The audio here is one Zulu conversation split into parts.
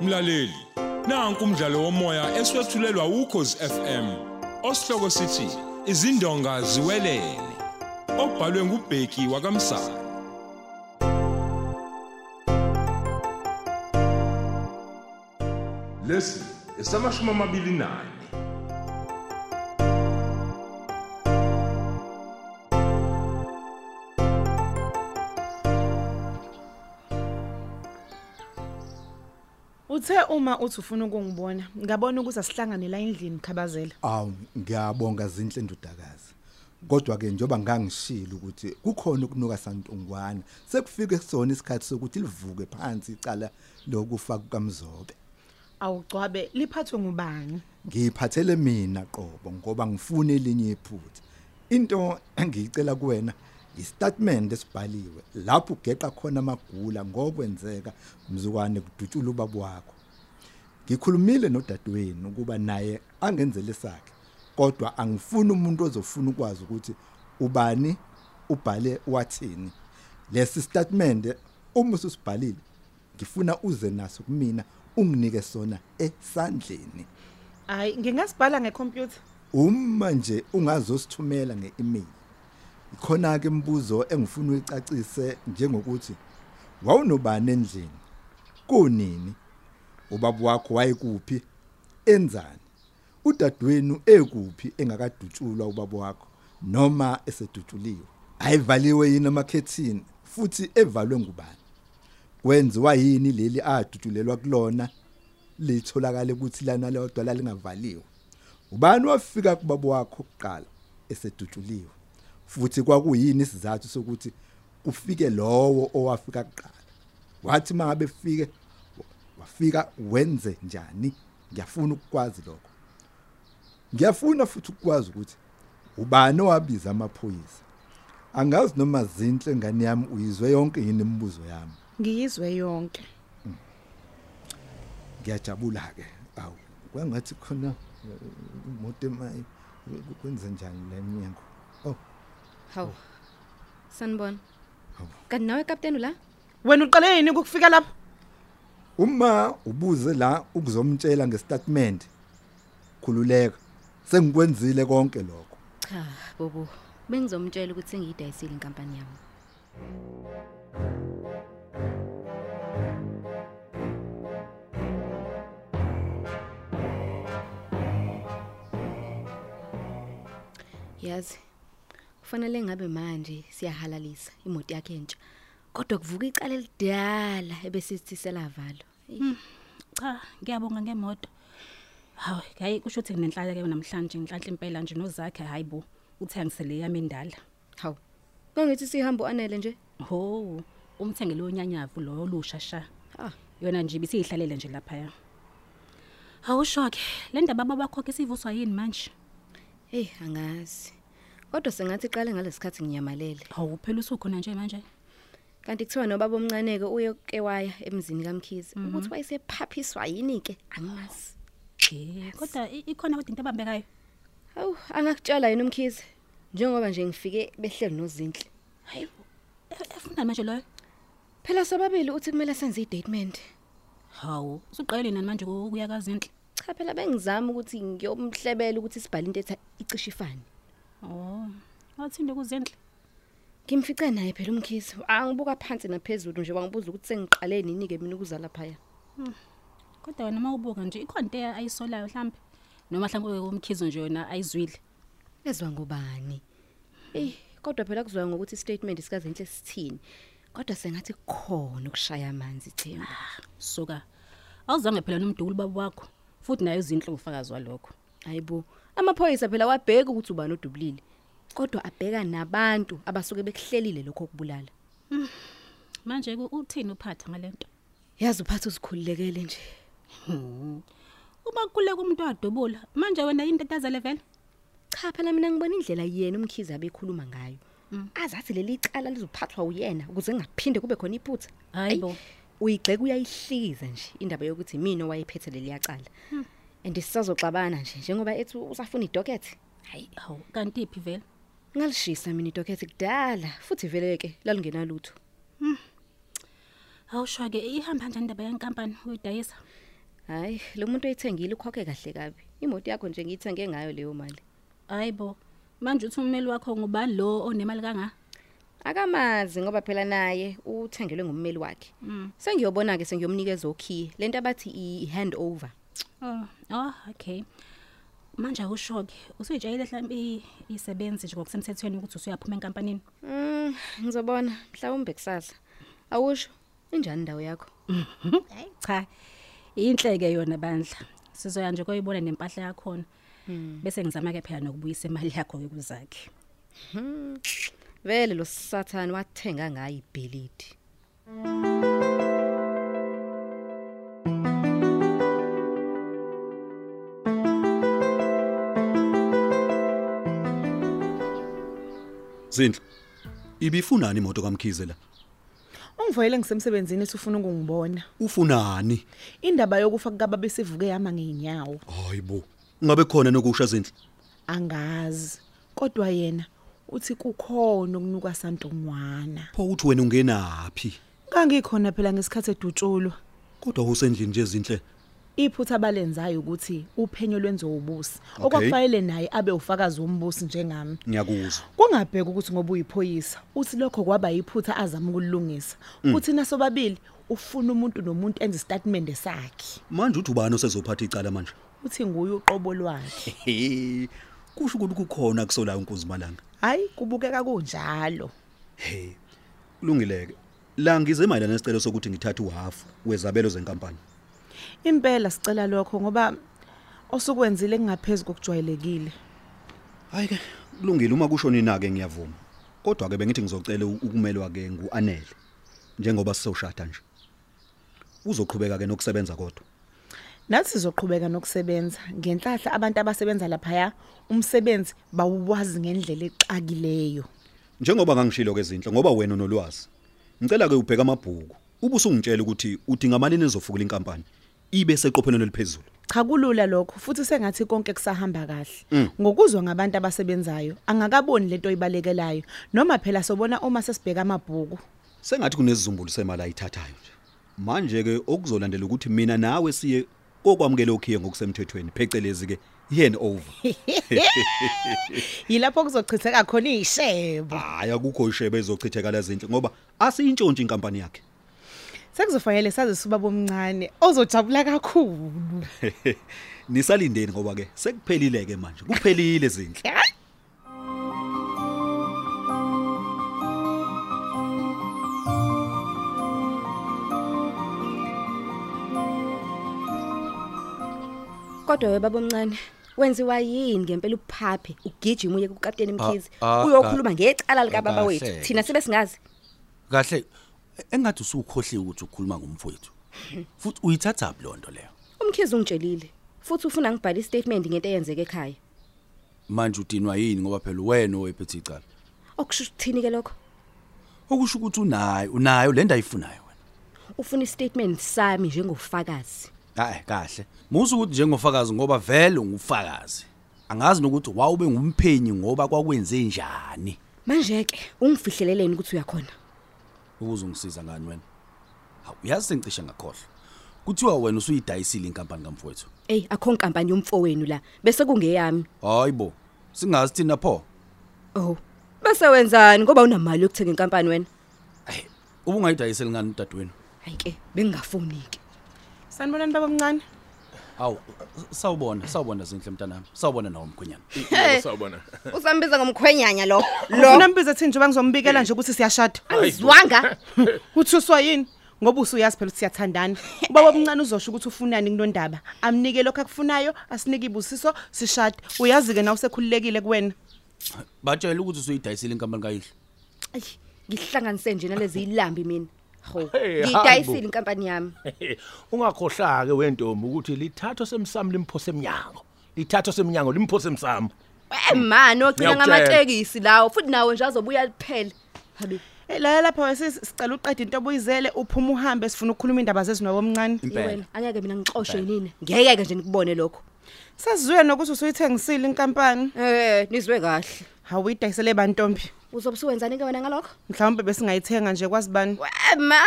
mlaleli nanku umdlalo womoya eswetshulelwa ukhozi FM osihloko sithi izindonga ziwelele obhalwe ngubheki wakamsana lesi esamashumi amabili nane Uthe uma uthi ufuna ukungibona, ngabona ukuthi asihlangane la endlini khabazela. Aw ngiyabonga zinhle ndudakazi. Kodwa ke njoba ngangishilo ukuthi kukhona ukunuka santungwana sekufike kusona isikhathi sokuthi livuke phansi icala lokufa kukaMzobe. Awugcwabe liphathwe ngubani? Ngiphathele mina qobo ngoba ngifuna elinye iphutha. Into engiyicela kuwena istatement esibhaliwe lapho ugeqa khona amagula ngokwenzeka mzukwane kudutshula ubaba wakho. Ngikhulumile nodadewenu ukuba naye angenzele sakhe kodwa angifuni umuntu ozofuna ukwazi ukuthi ubani ubhale wathini. Lesi statement uma usibhalile ngifuna uze naso kumina unginike sona esandleni. Hayi, ngingasibhala ngecomputer. Uma nje ungazosithumela nge-email ikhona ke imibuzo engifuna uyicacise njengokuthi wawunobani endlini kunini ubaba wakho wayekuphi enzani udadwenu ekuphi engakadutshulwa ubaba wakho noma esedutshuliwe ayivaliwe yini amakhethini futhi evalwe ngubani kwenziwa yini leli adutshulelwa kulona litholakale ukuthi lana lodwa lalingavaliwe ubani wafika kubaba wakho kuqala esedutshuliwe futhi kwakuyini isizathu sokuthi ufike lowo owafika kuqala wathi mangabe fike wafika wenze njani ngiyafuna ukukwazi lokho ngiyafuna futhi ukwazi ukuthi ubani owabiza amaphoyisa angazi noma zinhle ngane yami uyizwe yonke yini imibuzo yami Ngiyizwe yonke. ngiyajabula ke awu kwangathi khona eh, imoto emayi kwenze njani lemnyango oh Hawu. Sanibona. Hawu. Kanti nawe kapteni la? Wena uqale yini ukufika lapha? Uma ubuze la ukuzomtshela ngestatement khululeka sengikwenzile konke lokho Cha, bobo. Bengizomtshela ukuthi ngiyidayisile inkampani yami. Yazi. Kufanele ngabe manje siyahalalisa imoto yakhe entsha. Kodwa kuvuka icala elidala ebesithi selavalo. cha ngiyabonga ngemoto hawu hayi kusho ukuthi nginenhlala ke namhlanje ngenhlanhla impela nje nozakhe hayi bo uthengisele yami endala Hawu. Kangithi sihambo anele nje. ho umthengele onyanyavu lo lushasha Ah, yona nje bisihlalele nje lapha hawu shoke le ndaba baba bakho ke sivuswa yini manje hey angazi. Kodwa sengathi iqale ngalesikhathi ngiyamalele. hawu phela usukhona nje manje kanti kuthiwa nobaba omncane-ke uyoke waya emzini kamkhizi mm -hmm. ukuthi wayesephaphiswa yini-ke angimazi Eh, kodwa i- ikhona kodwa into abambekayo hawu angakutshela yena umkhizi njengoba nje ngifike behleli nozinhle hayi e- efuna manje loyo phela sobabili uthi kumele senze i-datement hawu usuqeleni nani manje ukuya kazinhle cha phela bengizama ukuthi ngiyomhlebela ukuthi sibhale into ethi icishe ifane oh wathinde kuzinhle ngimfice naye phela umkhizi angibuka phansi naphezulu nje wangibuza ukuthi sengiqale nini-ke mina ukuzala phaya kodwa wena uma ubuka nje ikhona into ayisolayo mhlambe noma mhlawumbe umkhizo nje yona ayizwile ezwa ngobani eyi Eh, kodwa phela kuzwayo ngokuthi istatement sikazinhle sithini kodwa sengathi kukhona ukushaya amanzi themba suka awuzange phela nomdukulu babo wakho futhi nayo izinhle ufakazi walokho hayibo amaphoyisa phela wabheka ukuthi ubani odubulile kodwa abheka nabantu abasuke bekuhlelile lokho okubulala manje ku- uthini uphatha ngalento yazi uphathe uzikhululekele nje uma kukuleka umuntu wadubula manje wena yini tetazele vele cha phela mina ngibona indlela yena umkhizi abekhuluma ngayo azathi leli cala lizophathwa uyena ukuze kungaphinde kube khona iphutha hayibo uyigxeka uyayihlikiza nje indaba yokuthi mina owayephethe leli yacala and sisazoxabana nje njengoba ethi usafuna idokethe hayi hawu kanti iphi vele ngalishisa mina idokethe kudala futhi veleke lalungenalutho awusho-ke ihamba njani indaba yenkampani uyidayisa Hayi, lo muntu oyithengile ukhokhe kahle kabi. Imoto yakho nje ngiyithenge ngayo leyo mali. Hayibo. Manje uthi ummeli wakho ngubani lo onemali kanga? Akamazi ngoba phela naye uthengelwe ngummeli wakhe. Sengiyobona ke sengiyomnikeza okhiye. Lento abathi i-hand over. Oh, oh, okay. Manje awusho ke usuyitshayile mhlawumbe isebenzi nje ngokusemthethweni ukuthi usuyaphuma enkampanini. Mm, ngizobona mhlawumbe kusasa. Awusho injani indawo yakho? Hayi cha. Inhleke yona bandla. Sizoya nje koyibona nempahla yakho. Bese ngizama ke phela nokubuyisa imali yakho ke kuzakhe. Vele lo Satan wathenga ngayo ibhelidi. Zindlu. Ibifunani imoto kaMkhize la? Ungivoyele ngisemsebenzini ethi ufuna ukungibona. Ufunani? Indaba yokufa kukaba besivuke yama ngeenyawo. Hayibo. Ngabe khona nokusha zindlu. Angazi. Kodwa yena uthi kukhona okunuka santomwana. Pho uthi wena ungenaphi? Kangikhona phela ngesikhathi edutshulwa. Kodwa usendlini nje zinhle. Iphutha abalenzayo ukuthi uphenyo lwenziwe ubusi. Okay. Okwakufanele naye abe ufakazi wombusi njengami. Ngiyakuzwa. Kungabheka ukuthi ngoba uyiphoyisa uthi lokho kwaba yiphutha azama ukulungisa. Uthi nasobabili ufuna umuntu nomuntu enze istatement sakhe. Manje uthi ubani osezophatha icala manje? Uthi nguye uqobo lwakhe. He. Kusho ukuthi kukhona kusolayo uNkuzimalanga. Hayi kubukeka kunjalo. He. Kulungileke. La ngize mayelana nesicelo sokuthi ngithathe uhafu wezabelo zenkampani. Impela sicela lokho ngoba osukwenzile kungaphezulu kokujwayelekile. Hayi ke, kulungile uma kushoni na ke ngiyavuma. Kodwa ke bengithi ngizocela ukumelwa ke nguanele njengoba sisoshada nje. Uzoqhubeka ke nokusebenza kodwa. Nathi sizoqhubeka nokusebenza ngenhlahla abantu abasebenza lapha umsebenzi bawuwazi ngendlela exakileyo. Njengoba ngangishilo ke izinto ngoba wena unolwazi. Ngicela ke ubheke amabhuku. Ubuse ungitshela ukuthi udinga imali ezofukula inkampani ibe seqophenelo liphezulu. Cha kulula lokho futhi sengathi konke kusahamba kahle. Ngokuzwa ngabantu abasebenzayo angakaboni lento oyibalekelayo noma phela sobona uma sesibheka amabhuku. Sengathi kunezizumbulu semali ayithathayo nje. Manje ke okuzolandela ukuthi mina nawe siye kokwamukela okhiye ngokusemthethweni phecelezi ke hand over. Yilapho kuzochitheka khona ishebo. Hayi akukho ishebe ezochithekala zinhle ngoba asiyintshontshi inkampani yakhe. Sekuzofanele saze subaba omncane ozojabula kakhulu. Nisalindeni ngoba ke sekuphelile ke manje. Kuphelile zinhle. Hayi. Kodwa we baba omncane wenziwa yini ngempela uphaphe ugijima uye kuCaptain Mkhize ah, uyokhuluma ngecala lika ah, baba wethu kahle. thina sibe singazi Kahle engathi usukhohliwe ukuthi ukhuluma ngomfowethu. Futhi uyithatha phi lonto leyo? umkhize ungitshelile futhi ufuna ngibhale istatement ngento eyenzeke ekhaya Manje udinwa yini ngoba phela wena owephethe icala. okusho ukuthini ke lokho Okusho ukuthi unayo, unayo lenda ayifunayo wena. ufuna istatement sami njengofakazi Hayi kahle. Musu ukuthi njengofakazi ngoba vele ungufakazi. Angazi nokuthi wawube ngumphenyi ngoba kwakwenze njani. manje ke ungifihleleleni ukuthi uyakhona Ukuzongisiza ngani wena? Hawu uyazi sengicishe ngakhohlwa. Kuthiwa wena usuyidayisile inkampani kamfowethu. eyi akho nkampani yomfowenu la bese kungeyami Hayibo. Singazi thina pho. oh bese wenzani ngoba unamali yokuthenga inkampani wena Hey, ubungayidayiseli ngani dadwenu? hayi ke bengingafuni ke Sanibonani baba omncane. Awu, sawubona, sawubona zinhle mntanami. Sawubona nawe mkhwenyana. Sawubona. usambiza ngomkhwenyanya lo Ufuna lo mbize thini njengoba ngizombikela Oh. nje ukuthi siyashada. angizwanga Uthuswa yini? Ngoba usuyazi phela ukuthi siyathandana. Ubaba omncane uzosho ukuthi ufunani kunondaba. Amnike lokho akufunayo, asinike ibusiso, sishade. Uyazi ke na usekhululekile kuwena. Batshela ukuthi usuyidayisile inkampani kayihlo. Ayi, ngihlanganise nje nalezi ilambi mina ho Hey, ngidayisile hayi bo. inkampani yami Ungakhohlake wentombi ukuthi lithatho semsamo limphose eminyango. Lithatho semnyango limphose emsamo. emani ogcina Ngiyakutshela. ngamatekisi lawo futhi nawe nje azobuya liphele habe Elaya lapha wesisi sicela uqede into obuyizele uphume uhambe sifuna ukukhuluma indaba zezinobo omncane. wena angeke mina ngixoshwe yinini ngeke ke nje nikubone lokho Sasizwe nokuthi usuyithengisile inkampani. eh nizwe kahle Hawuyidayisele bantombi. uzobusu wenzani ke wena ngalokho Mhlawumbe besingayithenga nje kwasibani. wema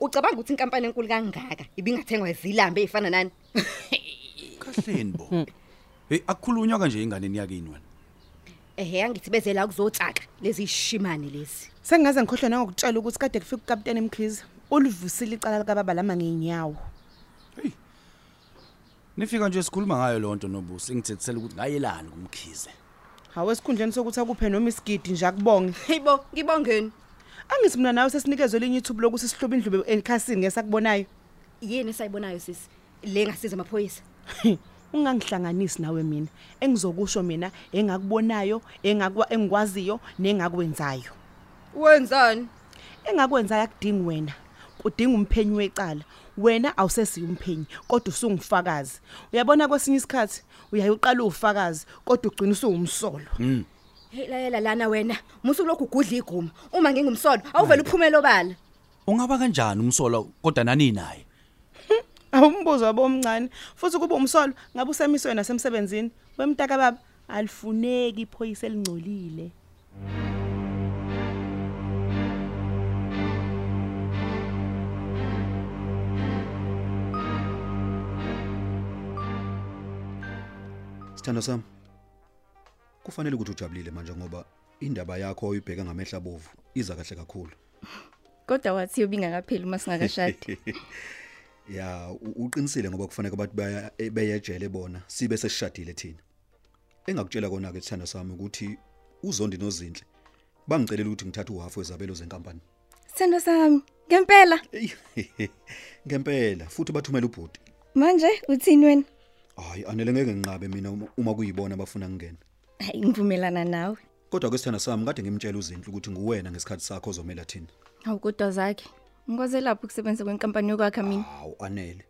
ucabanga ukuthi inkampani enkulu kangaka ibingathengwa izilambe ezifana nani kahleni bo hey akukhulunywa kanje inganeni yakini wena ehe angithi beze la kuzotsaka lezi shimane lezi Sengaze ngikhohlwe nangokutshela ukuthi kade kufika uCaptain Mkhize ulivusile icala lika baba lama ngenyawo. nifika nje sikhuluma ngayo le nto nobusi ngithethisela ukuthi ngayelani kumkhize Hawe esikhundleni sokuthi akuphe noma isigidi nje akubonge. heyibo ngibongeni Angithi mina nawe sesinikezwe elinye ithubu lokuthi sihlobe indlube ekhasini ngesakubonayo. yini esayibonayo sisi le ngasiza amaphoyisa Ungangihlanganisi nawe mina. Engizokusho mina engakubonayo, engakwa engikwaziyo nengakwenzayo. wenzani Engakwenzayo akudingi wena. Kudinga umphenyi wecala. Wena awusesiyo umphenyi kodwa usungufakazi. Uyabona kwesinye isikhathi uyaye uqala ufakazi kodwa ugcina usungumsolo. heyi layela lana wena musuku lokhu ugudla iguma uma ngingumsolo awuvele uphumele obala ungaba kanjani umsolo kodwa nani naye awumbuzo wabo omncane futhi kuba umsolo ngabe usemiswe nasemsebenzini wemtaka baba alifuneki iphoyisa elingcolile Sithando sami. Kufanele ukuthi ujabulile manje ngoba indaba yakho oyibheka ngamehla bovu iza kahle kakhulu. kodwa wathi yobingakapheli uma singakashadi Ya, u- uqinisile ngoba kufanele abantu baya e, beyejele bona sibe sesishadile thina. Engakutshela kona ke sithando sami ukuthi uzondi nozinhle bangicelela ukuthi ngithathe uhafu wezabelo zenkampani. sithando sami ngempela Eyi, Ngempela futhi bathumela ubhuti. manje uthini wena Hayi, anele ngeke nginqabe mina uma- uma kuyibona abafuna ngingena. hayi ngivumelana nawe Kodwa ke sithanda sami kade ngimtshela uzinhle ukuthi nguwena ngesikhathi sakho ozomela thina. hawu kodwa zakhe ngikwaze lapho ukusebenza kwenkampani yokwakha mina Hawu anele.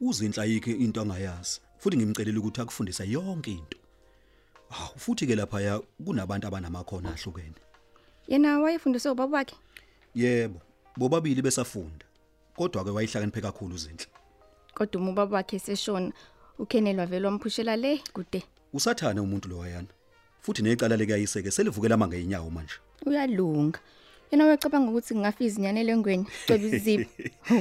Uzinhla yikhe into angayazi. Futhi ngimcelela ukuthi akufundise yonke into. Hawu futhi ke lapha ya kunabantu abanamakhono ahlukene. yena wayefundiswe ubaba wakhe Yebo, bobabili besafunda. Kodwa ke wayihlakaniphe kakhulu uzinhle. kodwa uma ubaba wakhe eseshona ukenelwa vele wamphushela le kude Usathana umuntu lo wayana. Futhi necala leke ayiseke selivukela manga inyawo manje. uyalunga yena wacabanga ukuthi ngingafa izinyanele engweni ceba izizipho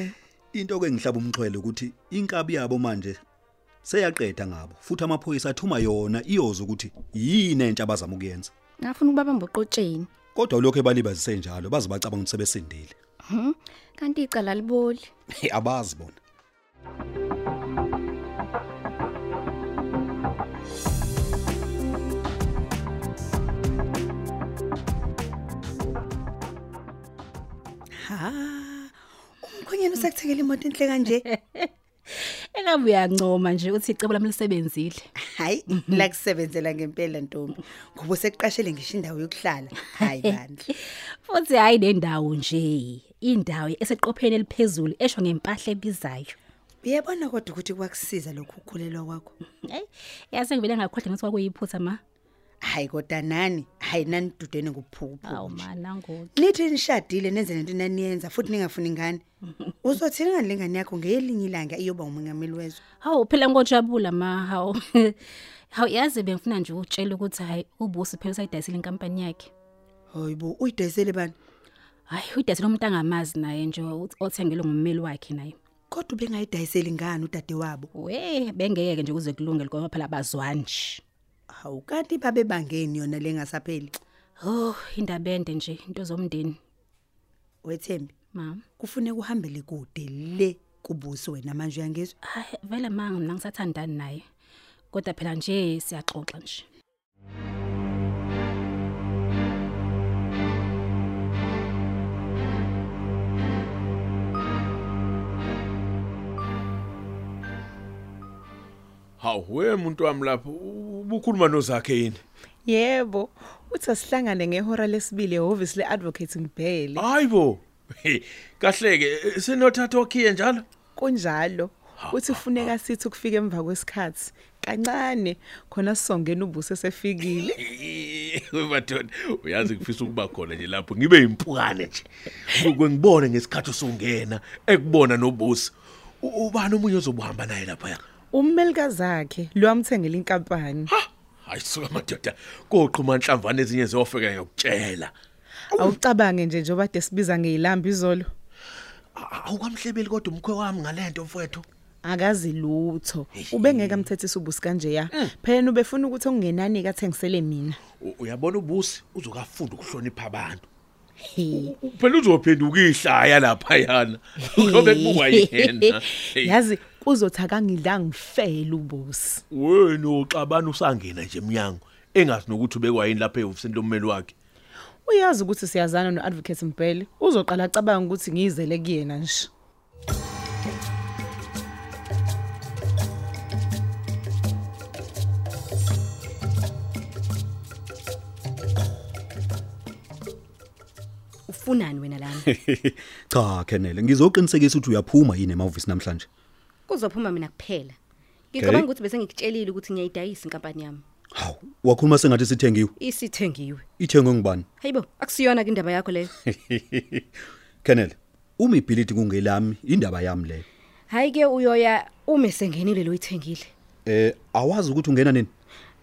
Into ke ngihlaba umxhwele ukuthi inkabi yabo manje seyaqeda ngabo futhi amaphoyisa athuma yona iyoza ukuthi yini entsha abazama ukuyenza. ngafuna ukubabamba oqotsheni Kodwa lokho ebalibazise njalo baze bacabanga ukuthi sebesindile. Mhm. kanti icala liboli Hey, abazi bona. ha umkhonyana usakuthengele imoto enhle kanje engabe uyancoma nje uthi icebo lami lisebenzile hayi lakusebenzela ngempela ntombi ngoba sekuqashele ngisho indawo yokuhlala hayi bandla futhi hayi nendawo nje indawo eseqopheni eliphezulu esho ngempahla ebizayo uyabona kodwa ukuthi kwakusiza lokhu ukukhulelwa kwakho hey yaze ngivele ngakhohlwa ngathi kwakuyiphutha ma hayi kodwa nani hayi nanidudene awu ngobuphukuphuku ma nangoku nithi nishadile nenze nento naniyenza futhi ningafuni ngane uzothina ngalingane yakho ngelinye ilanga iyoba umongameli wezwe hawu phela ngojabula ma hawu hawu yazi bengifuna nje ukutshela ukuthi hayi ubusi phela usayidayisile inkampani yakhe hoyi bo uyidayisele bani hayi udayisele umuntu angamazi naye nje uthi- othengelwe ngummeli wakhe naye kodwa ubengayidayiseli ngani udade wabo we bengeke nje kuze kulungele ngoba phela bazwani nje hawu kanti babe bangeni yona le ngasapheli oh indaba ende nje into zomndeni wethembi mama kufuneka uhambele kude le kubusi wena manje uyangizwa hayi vele ma mina ngisathandani naye kodwa phela nje siyaxoxa nje Hawu we muntu wami lapho ubukhuluma nozakhe yini? yebo uthi asihlangane ngehora lesibili ehhovisi le-advocate ngibhele Hayibo. Hey, Kahle ke senothatha okhiye njalo? kunjalo uthi funeka sithi ukufika emva kwesikhathi kancane khona sizongena ubuso esefikile Wemadoda, uyazi ngifisa ukuba khona nje lapho ngibe impukane nje. Ngikungibone ngesikhathi usungena ekubona nobusi. U- Ubani omunye ozobuhamba naye lapha? ummelikazakhe lwamthengela inkampani Hayi suka madoda, koqhuma inhlamvane ezinye ziyofika ngiyokutshela. awucabange nje njengoba de sibiza ngeyilambi izolo A- awukamhlebeli kodwa umkhwe wami ngalento mfowethu akazi lutho ubengeke amthethisa ubusi kanje ya Eh. phela ubefuna ukuthi okungenani kathengisele mina U- uyabona ubusi uzokafunda ukuhlonipha abantu U- phela uzophenduka ihlaya lapha yana ngobe kubuka yena Hey. yazi kuzothi akangidla ngifele ubusi wena uxabana usangena nje eminyango engazi nokuthi ubekwa yini lapha ehofisini lommeli wakhe uyazi ukuthi siyazana noadvocate Mbhele uzoqala acabanga ukuthi ngizele kuyena nje ufunani wena lana cha Kenneth ngizoqinisekisa ukuthi uyaphuma yini emahhovisi namhlanje kuzophuma mina kuphela ngicabanga ukuthi bese ngikutshelile ukuthi ngiyayidayisa inkampani yami wakhuluma sengathi sithengiwe isithengiwe ithengwe ngubani hayibo akusiyona indaba yakho leyo Kenneth uma ibhilidi kungelami indaba yami leyo hayi ke uyoya ume sengenile lo ithengile eh awazi ukuthi ungena nini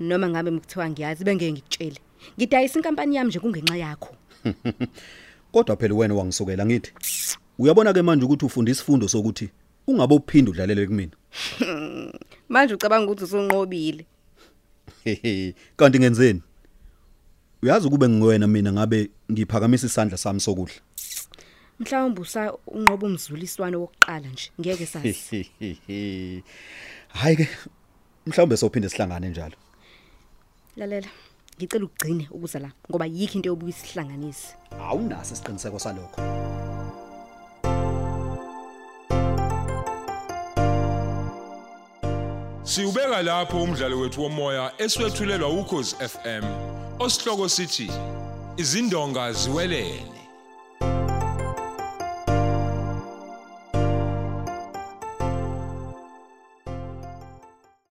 noma ngabe mkuthiwa ngiyazi bengeke ngikutshele ngidayisa inkampani yami nje kungenxa yakho kodwa phela wena wangisukela ngithi uyabona ke manje ukuthi ufunda isifundo sokuthi ungabe uphinde udlalele kumina manje ucabanga ukuthi usunqobile Hehe, kanti ngenzeni uyazi ukube ngwena mina ngabe ngiphakamisa isandla sami sokudla mhlawumbe usa unqoba umzuliswano wokuqala nje ngeke sazi Hehehe. hayi ke mhlawumbe sophinde sihlangane njalo lalela ngicela ukugcine ukuza la ngoba yikho into yobuka isihlanganisi awunaso isiqiniseko salokho Siubeka lapho umdlalo wethu womoya eswetshulelwa ukhozi FM. Osihloko sithi izindonga ziwelele.